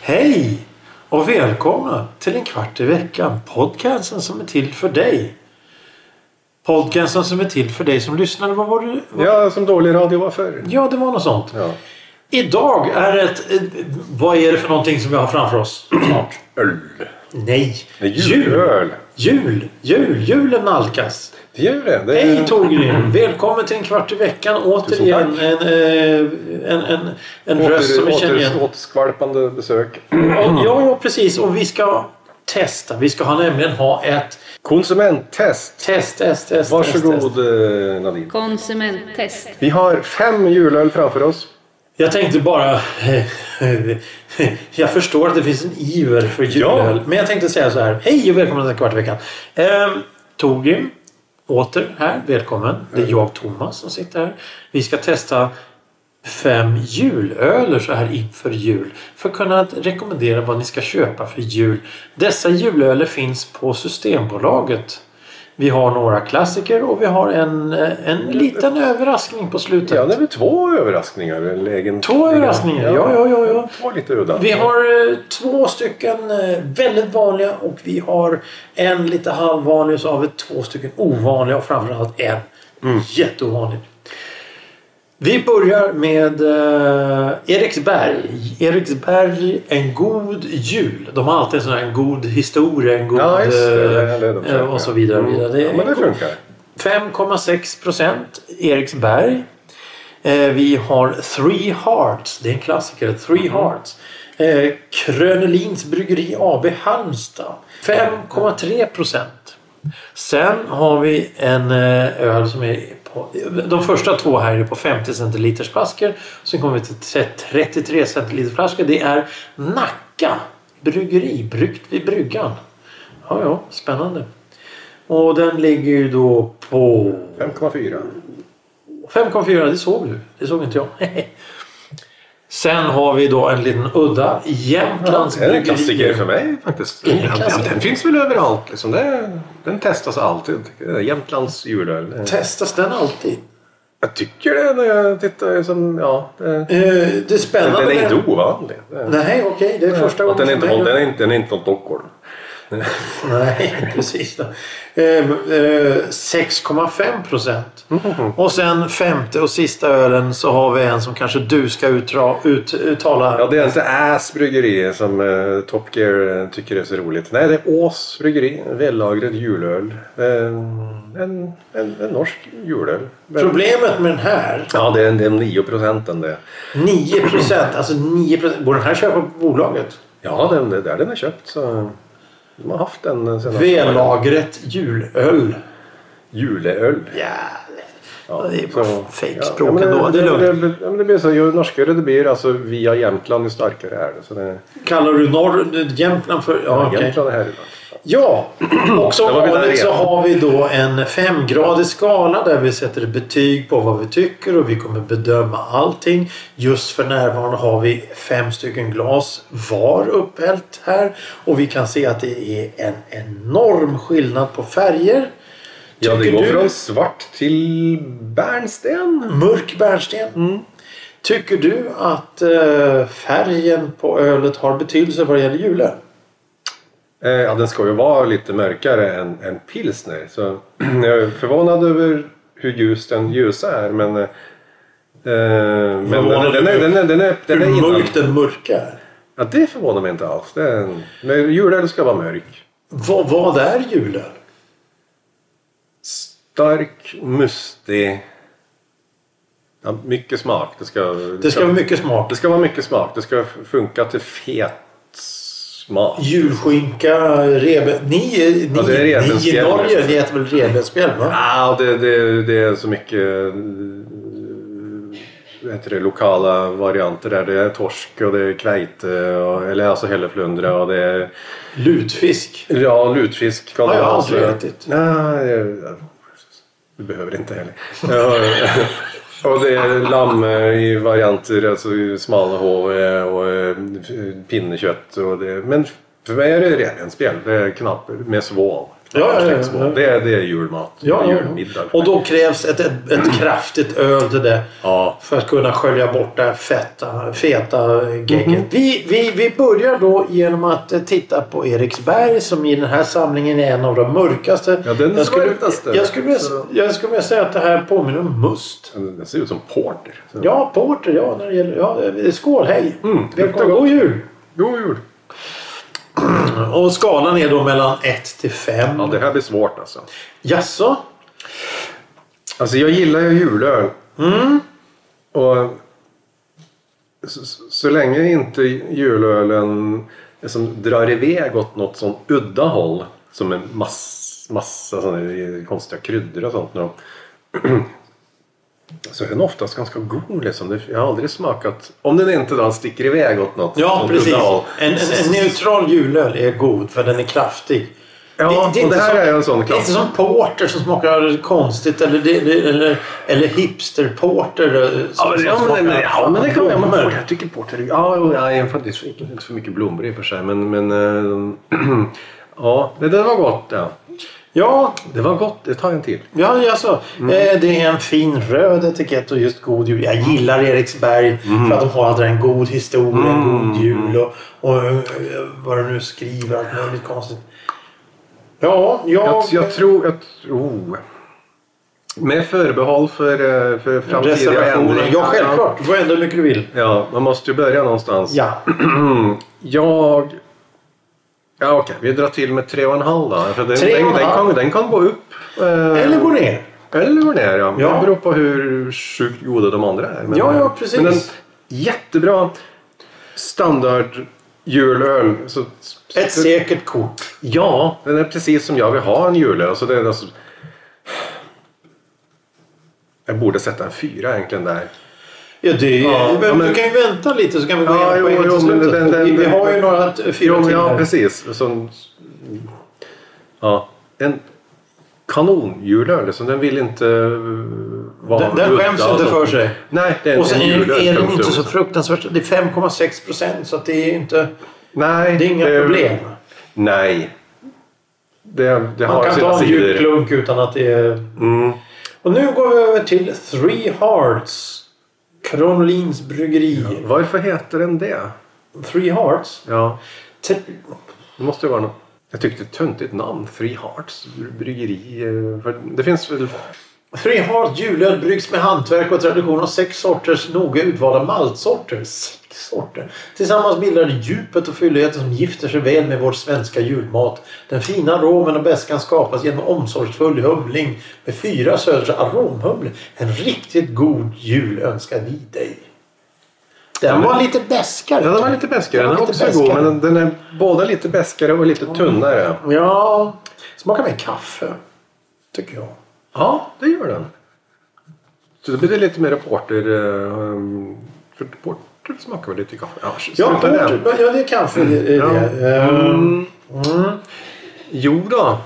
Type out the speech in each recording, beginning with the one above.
Hej och välkomna till en kvart i veckan. Podcasten som är till för dig. Podcasten som är till för dig som lyssnar. Vad var det? Ja, som dålig radio var förr. Ja, det var något sånt. Ja. Idag är ett... eh, Vad är det för någonting som vi har framför oss? Snart öl. Nej. Det är Julöl. Jul. Jul. Julen nalkas. Det gör det. det är... Hej Torgrim! Välkommen till en kvart i veckan. Återigen en, eh, en, en, en röst som vi känner igen. åter, återskvalpande besök. Och, ja, ja, precis. Och vi ska testa. Vi ska ha, nämligen ha ett Konsumenttest. test, test, test. Varsågod Test, test. eh, Nadine. Konsumenttest. Vi har fem julöl framför oss. Jag tänkte bara... jag förstår att det finns en iver för julöl. Ja. Men jag tänkte säga så här. Hej och välkommen till en kvart i veckan. Ehm, Torgrim, åter här. Välkommen. Det Mm. är jag, Thomas, som sitter här. Vi ska testa fem julöler så här inför jul för att kunna rekommendera vad ni ska köpa för jul. Dessa julöler finns på Systembolaget. Vi har några klassiker och vi har en, eh, en liten överraskning på slutet. Ja, det är väl två överraskningar. eller Egen... Två överraskningar, ja, ja, ja, ja. Två lite udda. Vi har eh, två stycken eh, väldigt vanliga och vi har en lite halvvanlig och så har vi två stycken ovanliga och framförallt en jätteovanlig. Vi börjar med eh, Eriksberg. Eriksberg, en god jul. De har alltid en sån här en god historia, en god... Ja, just det. Det är det de eh, försöker. och så vidare. Och Mm. vidare. Det är Ja, men det en god- funkar. 5,6 procent Eriksberg. Eh, vi har Three Hearts. Det är en klassiker. Three Mm-hmm. Hearts. Eh, Krönelins Bryggeri AB Halmstad. 5,3 procent. Sen har vi en eh, öl som är på... De första två här är på 50 centiliters flaskor. Sen kommer vi till 33 centiliters flaskor. Det är Nacka Bryggeri. Bryggt vid bryggan. Ja, ja. Spännande. Och den ligger ju då på 5,4. 5,4. Det såg du. Det såg inte jag. Sen har vi då en liten udda. Jämtlands Det är en bryggeri. klassiker för mig faktiskt. Är Alltså, det en Ja, klassiker? Den finns väl överallt. Liksom. Det, den testas alltid. tycker jag. Jämtlands julöl. Testas den alltid? Jag tycker det när jag tittar. Som, ja, det, Eh, det är spännande. den är inte med- ovanlig. Det- Nej, okej. Det är första Att gången den, är inte, som jag från- gör- den, är inte, den är inte från Stockholm. Nej, precis. Då. Ehm, eh, 6,5 procent. Och sen femte och sista ölen så har vi en som kanske du ska utra, ut, uttala. Ja, det är inte Äs bryggeri som eh, Top Gear eh, tycker är så roligt. Nej, det är Ås bryggeri. en Vällagrad julöl. Eh, en, en, en norsk julöl. Men- Problemet med den här, Ja, det är, det är 9 procenten det. 9 procent. Alltså 9 procent. Borde den här köpa på bolaget? Ja, den, det är där den är köpt. Så de har haft den eh, sedan... V-lagret julöl. Juleöl. Ja. det är så- bara fejkspråk men ändå. Det är Det, lugnt. det, ja, men det blir så. Ju norskare det blir, alltså via Jämtland, ju starkare är det. Så det Kallar du norr, Jämtland för... Ja, okej. Jämtland är här idag. Ja, och som Där var vi där vanligt så igen. har vi då en femgradig skala där vi sätter ett betyg på vad vi tycker och vi kommer bedöma allting. Just för närvarande har vi fem stycken glas var upphällt här och vi kan se att det är en enorm skillnad på färger. Ja, det Tycker går du- från svart till bärnsten. Mörk bärnsten. Mm. Tycker du att eh, färgen på ölet har betydelse vad det gäller julen? Eh, ja, den ska ju vara lite mörkare än, än pilsner. Så jag är förvånad över hur ljus den ljusa är, men... eh, Eh, men den, Förvånad den, är, den, är, den, är, den är Hur innan. mörk den mörka är. Ja, det förvånar mig inte alls. Det är en, men julöl ska vara mörk. Vad, vad är julen? Stark, mustig. Ja, mycket smak. Det ska, Det ska vara mycket smak. det ska vara mycket smak. Det ska funka till fet smak. Julskinka, rebe... Ni, ni, Ja, det är ni i revbensspjäll. Norge, ni äter väl revbensspjäll va? Ja, det, det, det är så mycket eh, vad heter det, lokala varianter där. Det är torsk och det är kveite, och, eller alltså hälleflundra och det är Lutfisk. ja, lutfisk. Har jag aldrig ätit. Nej, jag- du behöver inte heller. Ja, Och det är lamm eh, i varianter, alltså smalahove och eh, pinnekött. Och det, men för mig är det revbensspjäll, det är knapp med svål. Ja, ja, ja, ja. Svål. Det, är, det är julmat, Ja, det är ja. julmiddag. Och då krävs ett, ett, ett kraftigt öl till det. Ja. För att kunna skölja bort det här feta, feta gegget. Mhm. Vi, vi, vi börjar då genom att eh, titta på Eriksberg som i den här samlingen är en av de mörkaste. Ja, den är jag, skulle, mörkaste. jag, skulle vilja, Så- jag skulle vilja säga att det här påminner om must. Det ser ut som porter. Så. Ja, porter. Ja, när det gäller, ja, eh, skål, hej! Mm, Välkommen. luktar gott. God jul! God jul! Och skalan är då mellan 1 till 5. Ja, det här blir svårt alltså. Jaså? Alltså jag gillar ju julöl. Mm. Och så, så- så länge inte julölen liksom drar iväg åt något sånt udda håll. Som en mass, massa såna konstiga kryddor och sånt. När de, så är den oftast ganska god liksom. Det- Jag har aldrig smakat. Om den inte då sticker iväg åt något Ja, sånt precis. udda håll. En, en, en neutral julöl är god för den är kraftig. Ja, och inte det här som, är en sån Det är inte klass. som porter som smakar konstigt eller, det, det, eller, eller hipsterporter. eh, Som, Ja, men, som ja, smakar men, men, ja, men det kan man blommor. göra. Jag tycker porter... Ja, jo, ja, jag det är inte för mycket blommor i och för sig. Men... men eh, ja, det, det var gott. Ja. Ja, Det var gott. Det tar en till. ja jaså. Eh, det är en fin röd etikett och just god jul. Jag gillar Eriksberg för att de har alltid en god historia, en god jul och, och eh, vad de nu skriver. Allt möjligt konstigt. Ja, Jag, jag... jag tror... Jag tror... Med förbehåll för, eh, för framtida Reservationer. ändringar. Ja, självklart. Du får ändra hur mycket du vill. Ja, man måste ju börja någonstans. Ja. Jag... Ja, okej. Vi drar till med tre och en halv då. För den, Tre och en den, den, halv. kan, den kan gå upp. eh, Eller gå ner. Eller hur det är ja. Ja. Det beror på hur sjukt goda de andra är. Men, Ja, ja, precis. Men en jättebra standard julöl. Så, Ett säkert kort. Ja, den är precis som jag vill ha en julöl. Så det är alltså... Jag borde sätta en fyra egentligen där. Ja, det, Ja, men, ja, men- du kan ju vänta lite så kan vi gå Ja, igenom jo, poängen till jo, men slutet. den- den- vi, vi har ju den- några t- fyra Jo, men till ja, här. precis. Som, ja, en kanonjulöl. Liksom. Den vill inte eh, vara... Den- den skäms udda och inte för sånt. sig. Nej, det är Och sen en är, julöl. är den punktum. inte så fruktansvärt... Det är 5,6 procent så att det är inte... Nej, Det är inga problem. Nej. Det, det Man har kan sina ta en djup sidor. klunk utan att det är... Mm. Och nu går vi över till Three Hearts. Kronlins bryggeri. Varför heter den det? Three Hearts? Ja, Te- det måste ju vara något. Jag tyckte ett töntigt namn. Three Hearts bryggeri. eh, För det finns väl... Three Hearts julöl bryggs med hantverk och tradition och sex sorters noga utvalda maltsorter. Sex sorter. Tillsammans bildar det djupet och fylligheten som gifter sig väl med vår svenska julmat. Den fina aromen och bäskan skapas genom omsorgsfull humling med fyra sorters aromhumle. En riktigt god jul önskar vi dig. Den var lite bäskare. Ja, den var lite bäskare. Den Den är var också lite god, bäskare. men den, den är båda lite bäskare och lite tunnare. Ja, smakar mer kaffe. Tycker jag. Ja, det gör den. Så då blir det lite mer reporter... eh, För reporter smakar väl lite kaffe? Ja, Ja, strunt i det. porter- ja det är kaffe. Det, Mm. Ja. det. Ehm, Mm. Jo då.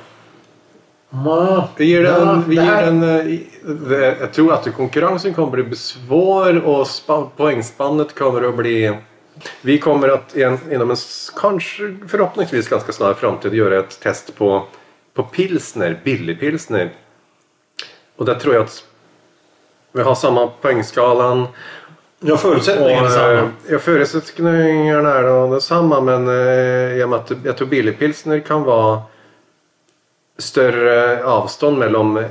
Ma. Vi ger den, Ja, vi det ger här- den, eh, i- det- jag tror att konkurrensen kommer att bli svår och spa, poängspannet kommer att bli... Vi kommer att i en- inom en s- kanske förhoppningsvis ganska snar framtid göra ett test på, på pilsner, billig pilsner. Och där tror jag att vi har samma poängskalan. Ja, Och, förutsättningarna är eh, samma. ja, förutsättningarna är nog detsamma men eh, i och med att jag tror billig pilsner kan vara större avstånd mellan eh,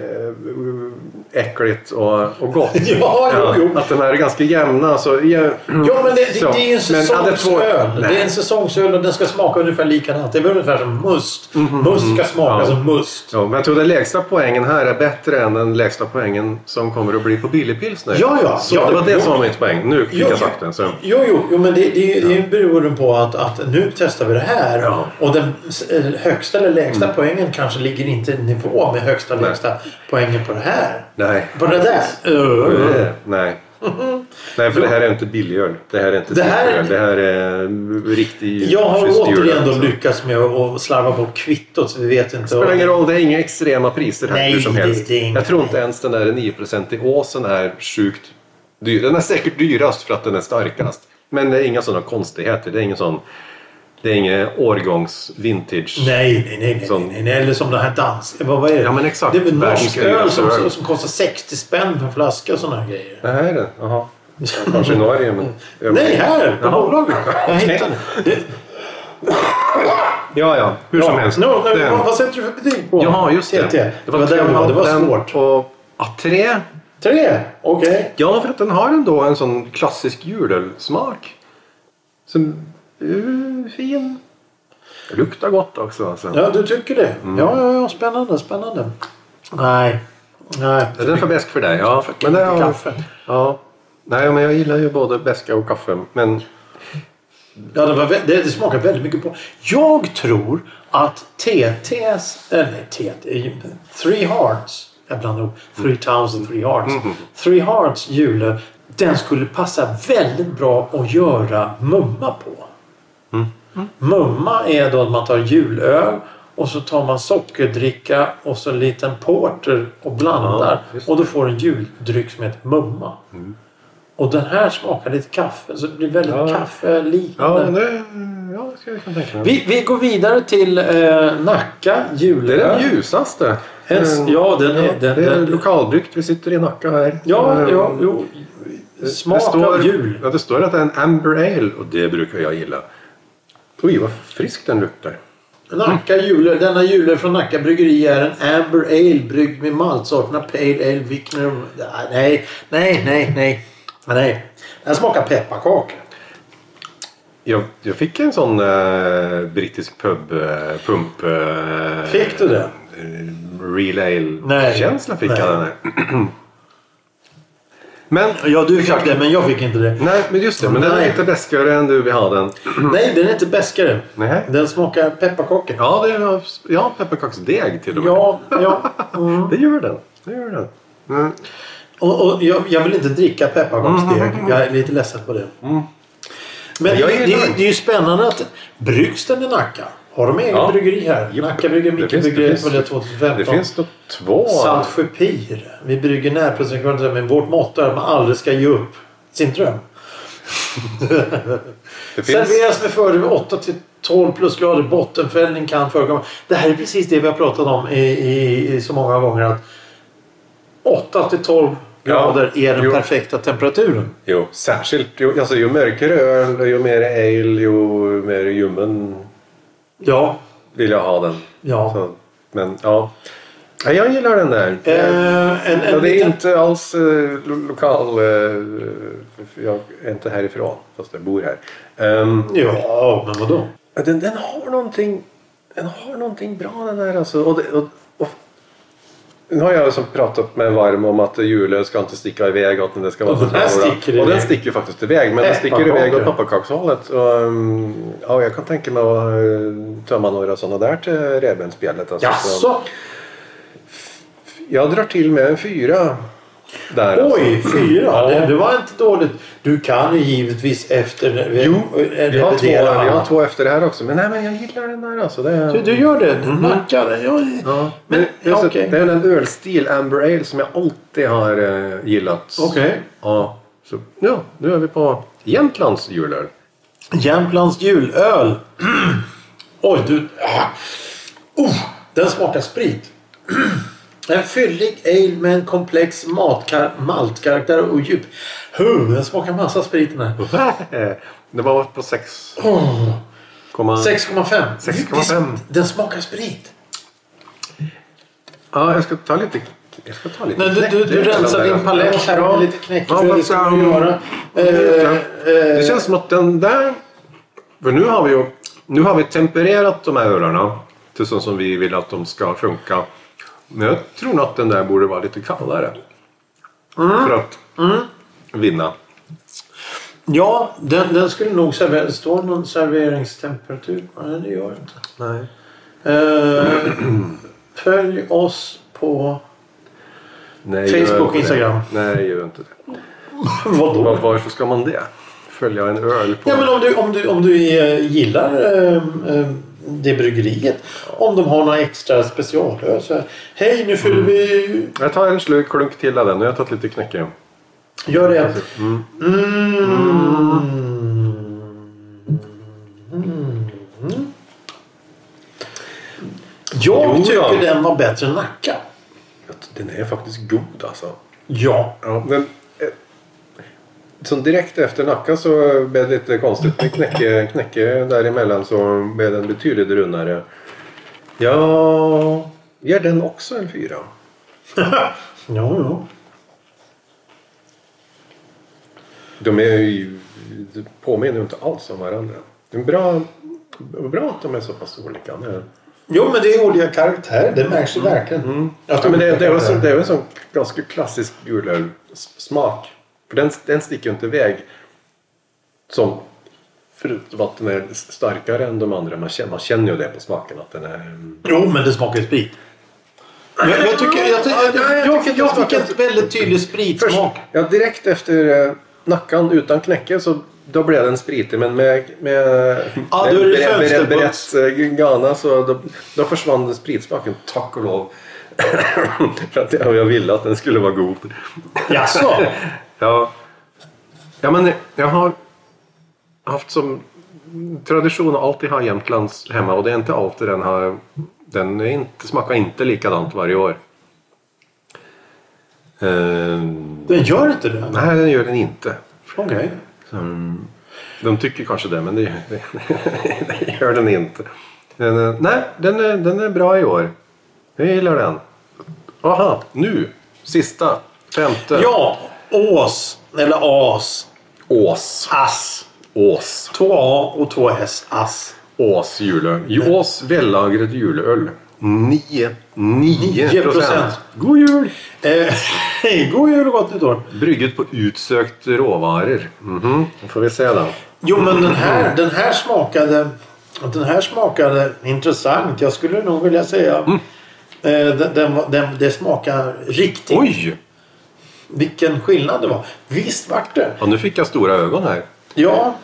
äckligt och, och gott. Ja, jo, jo. Att den här är ganska jämna. Så, ja, Ja, men det, det, så. det är ju en Men hade två- säsongsöl. det är en säsongsöl och den ska smaka ungefär likadant. Det är väl ungefär som must. must ska smaka Mhm. ja. som must. Ja, men jag tror den lägsta poängen här är bättre än den lägsta poängen som kommer att bli på billig pilsner. Ja, ja. Så Ja, det var det- det som var mitt poäng. Nu fick Jo, jag sagt den. Så. Jo, jo, jo men det, det, det är beroende på att, att nu testar vi det här. Ja. Mm. Och den eh, högsta eller lägsta poängen kanske ligger inte i nivå med högsta eller lägsta poängen på det här. Nej. På det där. Eh, Nej. Nej, för det här är inte biljöl. Det här är inte Det här- superöl. Det här är eh, riktig... Jag har schysst öl, återigen då alltså. lyckats med att slarva bort kvittot. så Vi vet inte. Det spelar ingen roll, det är inga extrema priser här Nej, hur som det- helst. det är inget- jag tror inte ens den där 9% i åsen är sjukt dyr. Den är säkert dyrast för att den är starkast. Men det är inga sådana konstigheter. Det är ingen sån... Det är ingen årgångs vintage. Nej, nej, nej. nej, Som- nej, nej. Eller som den här danska. Vad, vad är det? Ja, men exakt. Det är väl norsk Världens öl som, dyraste öl. som kostar 60 spänn per flaska och sådana här grejer. Det här är det? Jaha. Kanske i Norge, men... Nej, här på Jaha. bolaget. Jag hittade det. Ja, ja. Hur som Ja, helst. nu, nu, Den- vad, vad sätter du för betyg på? Jaha, just det. TT. Det var, det tre var, det var vatten svårt. Och, ja, tre. Tre? Okej. Ja, för att den har ändå en sån klassisk julölsmak. Som eh, fin. Luktar gott också. Alltså. Ja, du tycker det? Mm. Ja, ja, ja. Spännande, spännande. Nej. Nej. Är den för bäsk för dig? Ja, men det har- kaffe. Ja. Nej, men jag gillar ju både beska och kaffe. Men Ja, det, var, vä- det, det smakar väldigt mycket på. Jag tror att TT's... Eller eh, nej, TT... Three Hearts. Jag blandar ihop Three Mm. Towns and Three Hearts. Three Hearts julen. Den skulle passa väldigt bra att göra mumma på. Mm. Mumma är då att man tar julöl och så tar man sockerdricka och så en liten porter och blandar. Ja, just det. Mm. och då får du en juldryck som heter mumma. Och den här smakar lite kaffe så det blir väldigt Ja. ja, kaffeliknande. det, ja, det ska jag kan tänka mig. Vi, vi går vidare till eh, Nacka Det är julöl. den ljusaste. Mm. En- ja, den är- Ja, den- det är den- lokalbryggt. Vi sitter i Nacka här. Ja, Eh, ja, jo. Smak av jul. Ja, det står att det är en Amber Ale och det brukar jag gilla. Oj, vad frisk den luktar. Nacka julöl. Denna julöl från Nacka bryggeri är en Amber Ale bryggd med maltsorterna Pale Ale, Vickner... Nej, nej, nej, nej. nej. Den smakar pepparkaka. Jag, jag fick en sån eh, brittisk pub, eh, pump... Eh, Fick du det? eh, Real Nej. Ale-känsla fick Nej. jag den här. men, Ja, du fick Exakt. det, men jag fick inte det. nej, men just det. Men den Nej. är lite beskare än du vi har den. Nej, den är inte beskare. Nej. Den smakar pepparkaka. Ja, det är, ja, pepparkaksdeg till och med. Ja, ja. Mm. Det gör den. Det gör den. Mm. Och, och jag, jag vill inte dricka pepparkaksdeg. mm, Jag är lite ledsen på det. Men Men Mm. jag det, gillar det, den. är ju spännande att bryggs den i Nacka? Har de egen Ja. bryggeri här? Japp. Nacka brygger, Det Micke finns- det brygger, finns- Följa Det 2015. finns då två. Saltsjöpir. Vi brygger närproducerat men vårt motto är att man aldrig ska ge upp sin dröm. Det finns... Serveras med fördel vid 8 till 12 plusgrader. Bottenfällning kan förekomma. Det här är precis det vi har pratat om i, i, i så många gånger. att 8 till 12 Ja. grader är den Jo. perfekta temperaturen. Jo, särskilt. Jo, alltså, ju mörkare öl, ju mer ale, ju mer ljummen Ja. vill jag ha den. ja. Så, men ja. ja. Jag gillar den där. Eh, en, ja, en, det är liten- inte alls eh, lo- lokal... Eh, för jag är inte härifrån, fast jag bor här. Ehm, Ja, men vadå? Ja, Den, den har någonting Den har någonting bra den där alltså. Och det, och, och, nu har jag liksom pratat med en varm om att julen ska inte sticka iväg åt den. Det ska vara Och den här så- sticker Och den iväg. sticker ju faktiskt iväg. Men den sticker Pepparkakor. iväg åt pepparkakshållet. Och, um, ja, jag kan tänka mig att eh, tömma några sådana där till revbensspjället. Alltså. Så Jaså? Jag drar till med en fyra. Där alltså. Oj, fyra. Ja. Det, det var inte dåligt. Du kan ju givetvis efter... Jo, eh, jag har, två, revidera. jag har två efter det här också. Men nej, men jag gillar den där alltså. Det är... Du, du gör det? Du nackar det? Ja, Mhm. Ja, Men, men, ja, alltså, okej. Det är en ölstil, Amber Ale, som jag alltid har eh, gillat. Okej. Ja, så, ja, nu är vi på Jämtlands julöl. Jämtlands julöl. Oj, du... Ah. Oh, den smakar sprit. en fyllig ale med en komplex matkar- maltkaraktär och djup... Huh, den smakar massa sprit den här. det var på 6, Oh. komma... 6,5. 6,5. Den smakar sprit. Ja, jag ska ta lite... Jag ska ta lite Nej, du, du, du knäckebröd rensar där. din palett här Ja, med lite ja, knäckebröd. men Mm. Det ska du fram. göra. Eh, Det eh, känns som att den där... För nu har vi ju nu har vi tempererat de här ölarna till så som vi vill att de ska funka. Men jag tror nog att den där borde vara lite kallare. För att vinna. Ja, den, den skulle nog serveras. Står det någon serveringstemperatur? Nej, det gör det inte. Nej. Eh, följ oss på... Nej, det gör Facebook, inte det. Instagram. Nej, det gör inte det. Vadå? Var- Varför ska man det? Följa en öl på... Ja, men om du, om du, om du eh, gillar eh, eh, det bryggeriet. Om de har några extra specialöl. så här, Hej, nu fyller vi... Jag tar en slurk klunk till av den. Nu har jag tagit lite knäcke. Gör det. Mm. Jag Jo, ja. tycker den var bättre än Nacka. Den är faktiskt god alltså. Ja. Ja, men, eh, som direkt efter Nacka så blev det lite konstigt med knäcke, knäcke däremellan så blev den betydligt rundare. Ja, ger den också en fyra? Ja, ja. De är ju, de påminner ju inte alls om varandra. Det är bra, bra att de är så pass olika. Det- Jo, men det är olika karaktärer. Det märks ju verkligen. Att Ja, men det, det, är väl så, karaktärer. det är väl en sån ganska klassisk julölssmak. För den, den sticker ju inte iväg. Som, förutom att den är starkare än de andra. Man känner, man känner ju det på smaken att den är... mm, Jo, men det smakar ju sprit. Jag, jag tycker, jag, ty- jag, jag, jag, fick- jag fick en väldigt tydlig spritsmak. ja, direkt efter eh, Nackan utan knäcke så då blev den spritig. Men med, med, Ja, med då är det bre- bre- fönsterputs. brett, eh, Ghana så då, då försvann den spritsmaken, tack och lov. För att jag jag ville att den skulle vara god. Jaså? Ja. ja, men jag har haft som tradition att alltid ha Jämtlands hemma och det är inte alltid den har... Den är inte, smakar inte likadant varje år. Ehm, Den gör inte det? nej, den gör den inte. Okej. De tycker kanske det, men det, det, det gör den inte. Den, är- nej, den är, den är bra i år. Jag gillar den. Aha, nu! Sista, femte. Ja, Ås. Eller As. Ås. Ass. Ås. Två A och två S. Ass. Ås julöl. Ås vällagret julöl. 9 9 procent. procent. God jul! Eh, hej, god jul och gott nytt år. Brygget på utsökt råvaror. Mhm, Då får vi se då. Jo, men den här, den här smakade... Den här smakade intressant. Jag skulle nog vilja säga... Mm. Eh, den, den, var- den, det smakar riktigt. Oj! Vilken skillnad det var. Visst vart det. Ja, nu fick jag stora ögon här. Ja,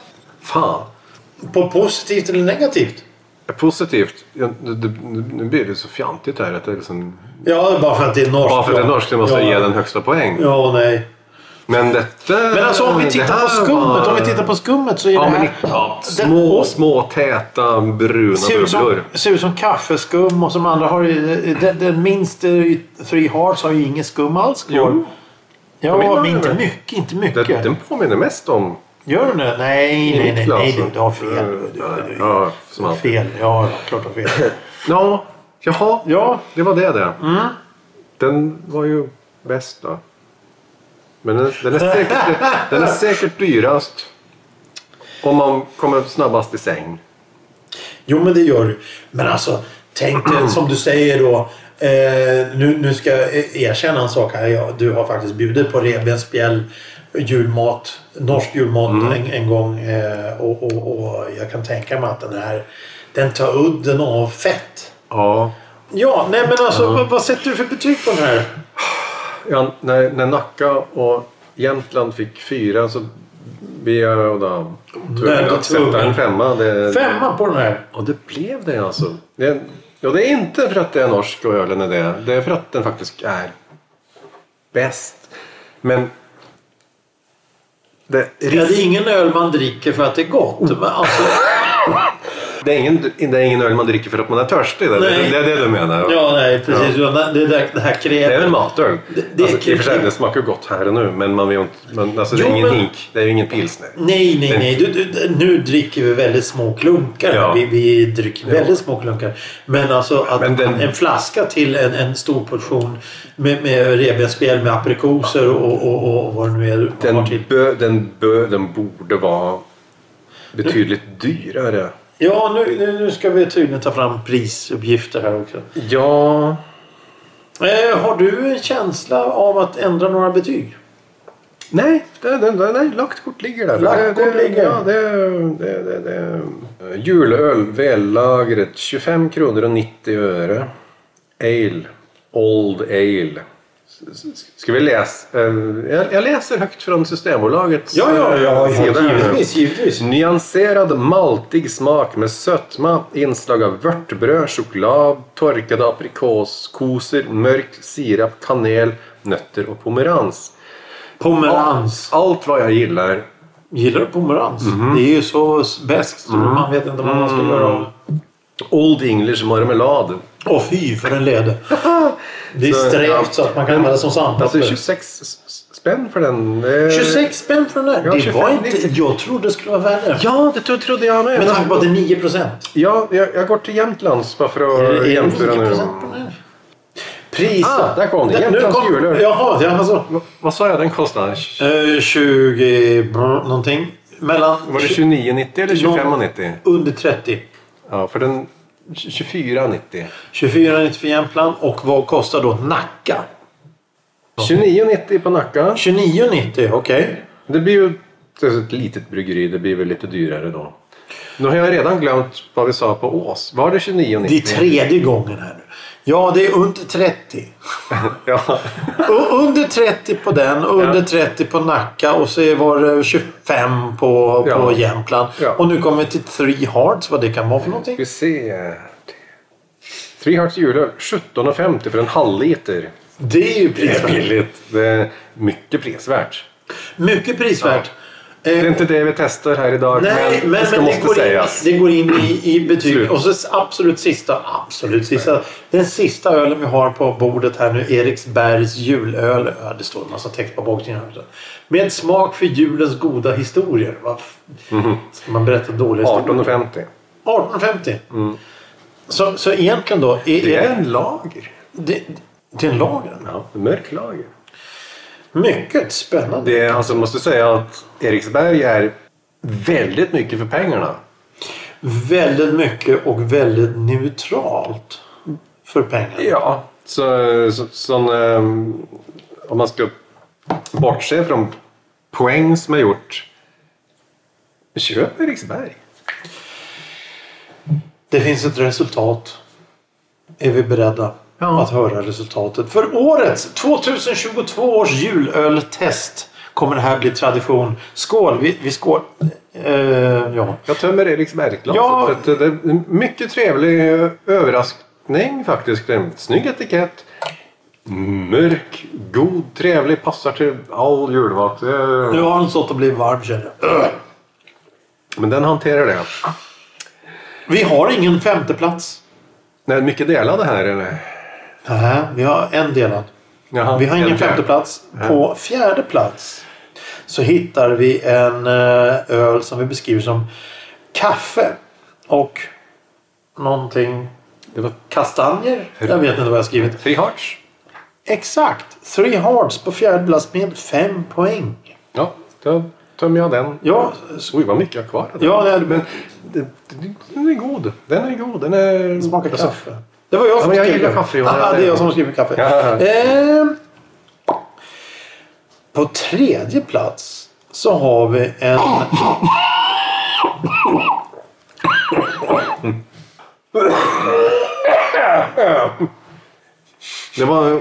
Fan! på positivt eller negativt. Positivt. Ja, det- det- Nu blir det så fjantigt här. Att det är liksom, Ja, bara för att det är norskt. bara för att det är norskt så måste jag ja. ge den högsta poäng. Ja, nej. Men detta... Men alltså om vi Mm, det tittar här på skummet, var- om vi tittar på skummet så är Ja, det men, här... ja, Den- små, och- små, täta, bruna Ser ut, som, bubblor. ser ut som kaffeskum och som andra har ju- den, den minst eh, Three Hearts har ju inget skum alls kvar. Jo. ja, påminner men inte mig. mycket, inte Den, mycket. den påminner mest om Gör den det? Nej, nej, nej, Niklas, nej, du, du har fel. eh, Du, du, du, Ja, som alltid. fel. Ja, ja, klart du har fel. Ja, jaha. Ja. Det var det det. Mm. Den var ju bäst då. Men den, den, är säkert, den är säkert dyrast. Om man kommer snabbast i säng. Jo, men det gör du. Men alltså, tänk dig, som du säger då. Eh, nu, nu ska jag erkänna en sak här. Jag, du har faktiskt bjudit på revbensspjäll, julmat, norsk julmat en, en gång. Eh, och, och, och jag kan tänka mig att den här, den tar udden av fett. Ja. Ja, nej men alltså vad, vad sätter du för betyg på den här? ja när, när Nacka och Jämtland fick fyra så blev jag då tvungen då att sätta tvungen. en femma. Det, Femma på den här. Ja, det blev det alltså. Det, ja, det är inte för att det är norsk och ölen är det. Det är för att den faktiskt är bäst. Men... Det, Ja, det det, är ingen öl man dricker för att det är gott. Men alltså, är ingen, det är ingen öl man dricker för att man är törstig. Det, Nej. det, det är det du menar. ja, nej precis. Det, där, det här Det är kräver... en matöl. Det, det är alltså, I och för sig, kul. det smakar gott här och nu. Men man vill ju inte... Man, alltså, det Jo, är ingen men- Mm. hink. Det är ju ingen pilsner. Nej, nej, nej. Du, du, du- nu dricker vi väldigt små klunkar. Ja. Vi, vi dricker väldigt små klunkar. Men alltså att Men den- en flaska till en, en stor portion med, med revbensspjäll med aprikoser och, och, och, och vad det nu är du har Den, till. bö, den, bö, den borde vara betydligt dyrare. Ja, nu, nu, nu ska vi tydligen ta fram prisuppgifter här också. Ja... Eh, har du en känsla av att ändra några betyg? Nej, det, det, det, nej, lagt kort ligger där. Lagt det, kort det, ligger. Ja, det, det, det, det. Eh, Julöl, vällagret, 25 kronor och 90 öre. Ale, Old Ale, S- Ska vi läsa? Eh, Jag jag läser högt från Systembolagets Ja, ja, ja, eh, sida ja här nu. givetvis, givetvis. Nyanserad maltig smak med sötma, inslag av vörtbröd, choklad, torkade aprikoskosor, mörk sirap, kanel, nötter och pomerans. Pomerans. Allt vad jag gillar. Gillar du pomerans? Mhm. Det är ju så bäst. Man vet inte vad man Mm. ska göra av det. Old English marmelad. Åh fy för en led. Det är Så, ja. strävt så att man kan använda det som Alltså sandpapper. 26 s- s- spänn för den. eh, 26 spänn för den där. Ja, det 25, var inte... 90. Jag trodde det skulle vara värre. Ja, det tro- trodde jag med. Men tanke på att det är 9 procent. alltså, Ja, jag, jag går till Jämtlands bara för att jämföra nu. Pris. Ah, där kom det. Nu Jämtlands kom- julöl. Jaha, ja, alltså. Va- Vad sa jag den kostade? Eh, 20 brr, någonting. Mellan... Var det 29,90 eller 25,90? Under 30. Ja, för den 24,90. 24,90 för Jämtland. Och vad kostar då Nacka? 29,90 på Nacka. 29,90. Okej. Det blir ju det är ett litet bryggeri, det blir väl lite dyrare då. Nu har jag redan glömt vad vi sa på Ås. Var det 29,90? Det är tredje gången här nu. Ja, det är under 30. Ja. U- Under 30 på den, under 30 på Nacka och så var det 25 på, Ja. på Jämtland. Ja. Och nu kommer vi till Three Hearts, vad det kan vara för någonting. Ska vi se. Three Hearts julöl, 17,50 för en halv liter. Det är ju prisvärt. billigt. Det är mycket prisvärt. Mycket prisvärt. Det är Eh, inte det vi testar här idag, Nej, men, men det ska men det, måste går in, sägas. det går in i, i betyg. Slut. Och så s- absolut sista, absolut sista. Den sista ölen vi har på bordet här nu, Eriksbergs julöl. Ja, Det står en massa text på baksidan här också. Med smak för julens goda historier. Va? Mhm. Ska man berätta dåliga historier? 18,50. 1850. Så, så egentligen då, är, Mm. Det är är en lager. det, det är en lager? Ja, en mörk lager. Mycket spännande. Det, är- alltså, jag måste säga att Eriksberg är väldigt mycket för pengarna. Väldigt mycket och väldigt neutralt för pengarna. Ja. Så, så, sån, ehm, om man ska bortse från poäng som är gjort. Köp Eriksberg. Det finns ett resultat. Är vi beredda Ja. att höra resultatet? För årets 2022 års julöltest kommer det här bli tradition. Skål! Vi, vi skål. Eh, ja. Jag tömmer Eriksbergglaset. Ja. Ja. För att det är en mycket trevlig överraskning faktiskt. En snygg etikett. Mörk, god, trevlig, passar till all julmat. Det- Nu har den stått och blivit varm känner jag. Men den hanterar det. Vi har ingen femteplats. Nej, mycket delade här eller? Nej, vi har en delad. Jaha, Vi har ingen en fjärde. femteplats. På fjärde plats så hittar vi en eh, öl som vi beskriver som kaffe och någonting Det var kastanjer. Jag vet inte vad jag skrivit. Three Hearts. Exakt! Three Hearts på fjärde plats med fem poäng. Ja, då tömmer jag den. Ja, s- Oj, vad mycket jag har kvar. ja det Men det- det- den är god. Den är god. Den är... smakar Alltså, kaffe. Det var jag som men jag skrev gillar den. kaffe, Johan. Ah, det är jag som skriver kaffe. Ja. Ehm, på tredje plats så har vi en... Det var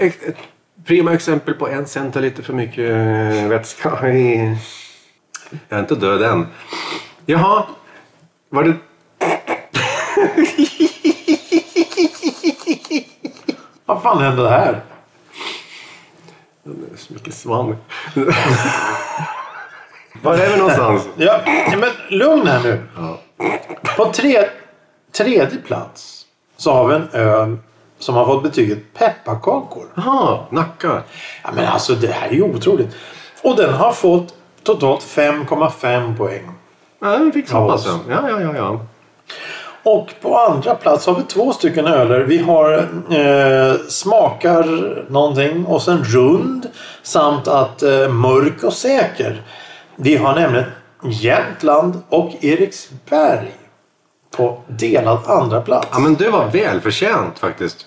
ett ett prima exempel på en centa lite för mycket eh, vätska i... Jag är inte död än. Jaha, var det... Vad fan hände här? Det är så mycket svann. var är vi någonstans? Ja, ja, men lugn här nu. På tre, tredje plats så har vi en öl som har fått betyget pepparkakor. Jaha, Nacka. Ja, men alltså det här är ju otroligt. Och den har fått totalt 5,5 poäng. Ja, vi fick så Ja, pass. så. Ja, ja, ja. ja. Och på andra plats har vi två stycken öler. Vi har eh, smakar någonting och sen rund samt att eh, mörk och säker. Vi har nämligen Jämtland och Eriksberg på delad andra plats. Ja, men det var välförtjänt faktiskt.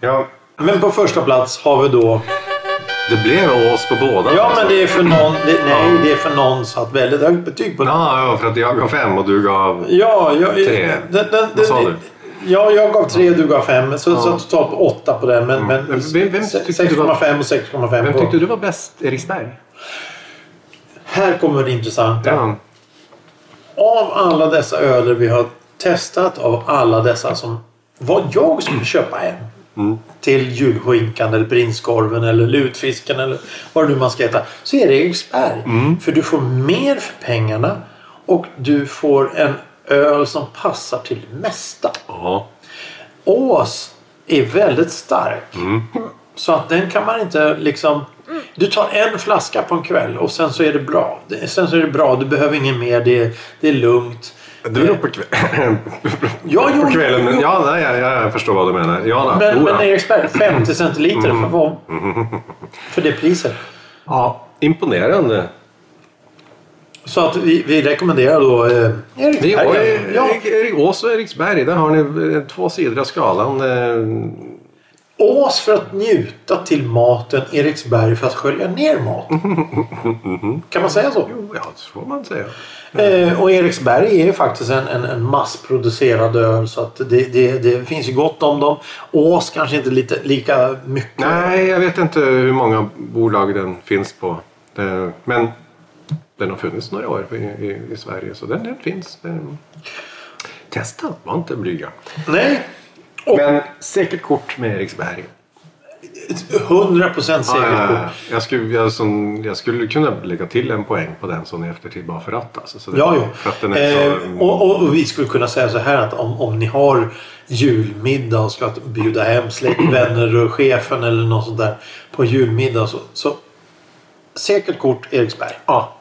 ja, Men på första plats har vi då... det blev oss på båda. alltså. Ja, men det är för någon... Det, nej, det är för någon satt väldigt högt betyg på den. Ja, ja, för att jag gav fem och du gav... Ja, jag, Tre. den, den, Vad sa den, du? Ja, jag gav tre och du gav fem. Så, så totalt åtta på den. Men, men Men Mm. vem- vem tyckte du 6,5 och 6,5 Vem på... tyckte du var bäst? Eriksberg? Här kommer det intressanta. Ja. Av alla dessa öler vi har testat, av alla dessa som vad jag skulle köpa hem Mm. till julskinkan eller prinskorven eller lutfisken eller vad det nu man ska äta så är det Eriksberg. Mm. För du får mer för pengarna och du får en öl som passar till det mesta. Ja. Ås är väldigt stark. Mm. Så att den kan man inte liksom... Du tar en flaska på en kväll och sen så är det bra. Det- Sen så är det bra. Du behöver ingen mer. Det är, det är lugnt. Det beror på, kväll... Ja, jo, på kvällen. jo. Ja, nej, jag, jag förstår vad du menar. Ja, då. Men, Jo, men då. Eriksberg, 50 centiliter Mm. för, vad, för det priset. ja. Imponerande. Så att vi, vi rekommenderar då eh, Ni Eriksberg. har ju ja. Erik- Erik- Ås och Eriksberg, där har ni eh, två sidor av skalan. eh, Ås för att njuta till maten, Eriksberg för att skölja ner maten. Kan man säga så? Jo, ja, så får man säga. Eh, och Eriksberg är ju faktiskt en, en, en massproducerad öl så att det, det, det finns ju gott om dem. Ås kanske inte lite, lika mycket. Nej, jag vet inte hur många bolag den finns på. Det- Men den har funnits några år i, i, i Sverige, så den, den finns. Den... Testa, var inte blyga. Nej. Och Men säkert kort med Eriksberg. 100% säkert. Ah, Ja, ja, ja. typ. Jag, skulle, jag, som, jag skulle kunna lägga till en poäng på den sån i eftertid bara för att. Alltså, så det- Ja, jo. För att den är så... Eh, och, och, och vi skulle kunna säga så här att om, om ni har julmiddag och ska bjuda hem släkt, vänner och chefen eller något sånt där på julmiddag så, så säkert kort Eriksberg. Ja,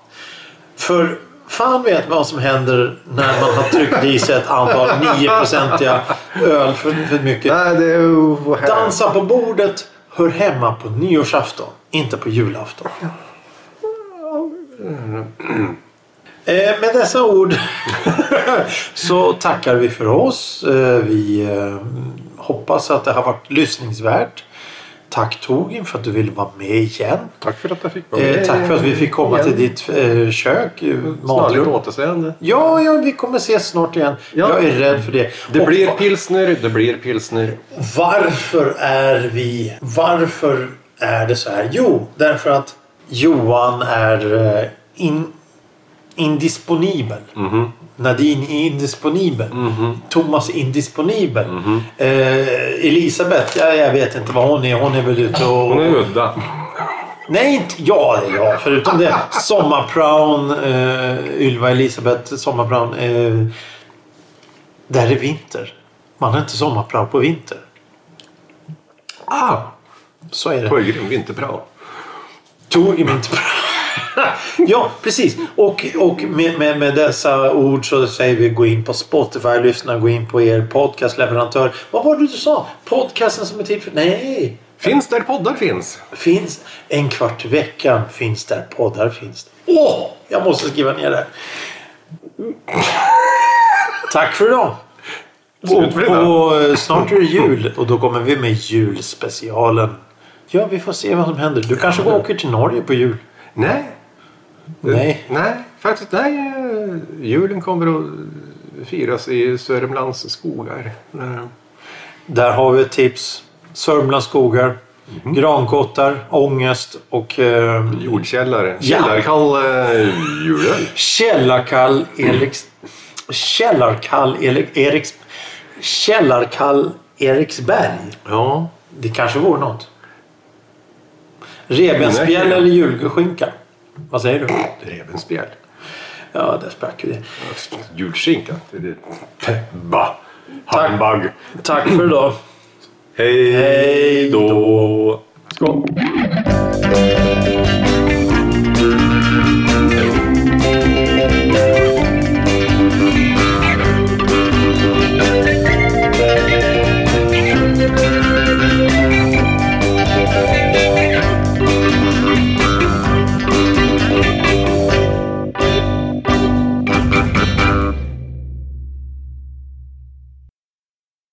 För fan vet vad som händer när man har tryckt i sig ett antal 9-procentiga öl för, för mycket. Nej, det är ju... Dansa på bordet hör hemma på nyårsafton, inte på julafton. Eh, Med dessa ord så tackar vi för oss. Eh, Vi eh, hoppas att det har varit lyssningsvärt. Tack Togin för att du ville vara med igen. Tack för att jag fick vara Eh, med. Tack för att vi fick komma till ditt eh, kök, eh, Snarligt matrum. återseende. Ja, ja, vi kommer ses snart igen. Ja. Jag är rädd för det. Det Och blir va- pilsner, det blir pilsner. Varför är vi... Varför är det så här? Jo, därför att Johan är eh, in, indisponibel. Mhm. Nadine är indisponibel. Thomas är indisponibel. Mhm. Eh, Elisabeth, ja, jag vet inte vad hon är. Hon är väl ute och... Hon är udda. Nej, inte jag. det är jag. Förutom det. Sommarpraon, eh, Ylva Elisabeth Sommarpraon. Eh, där är vinter. Man har inte sommarpraon på vinter. Ah, Så är det. Sjögrym, vinterprao. Tog mig inte Ja, precis. Och, och med, med, med dessa ord så säger vi gå in på Spotify, lyssna, gå in på er podcastleverantör. Vad var det du sa? Podcasten som är till för... Nej! Finns där poddar finns. Finns en kvart i veckan. Finns där poddar finns. Åh! jag måste skriva ner det. här. Tack för idag. Slut för idag. Och, och eh, snart är det jul och då kommer vi med julspecialen. Ja, vi får se vad som händer. Du kanske åker till Norge på jul? Nej. Nej. Nej, faktiskt nej. eh, Julen kommer att firas i Sörmlands skogar. Eh, Där har vi ett tips. Sörmlands skogar, Mhm. grankottar, ångest och eh, Jordkällare. Ja. Källarkall eh, julen. källarkall Eriks... Källarkall Erik, Eriks... Källarkall Eriksberg. Ja. Det kanske vore något. Revbensspjäll eller julskinka? Vad säger du? Revbensspjäll. Ja, där sprack ju det. Julskinka. Det är det. Peppa. Handbag. Tack för idag. Hej då. Skål.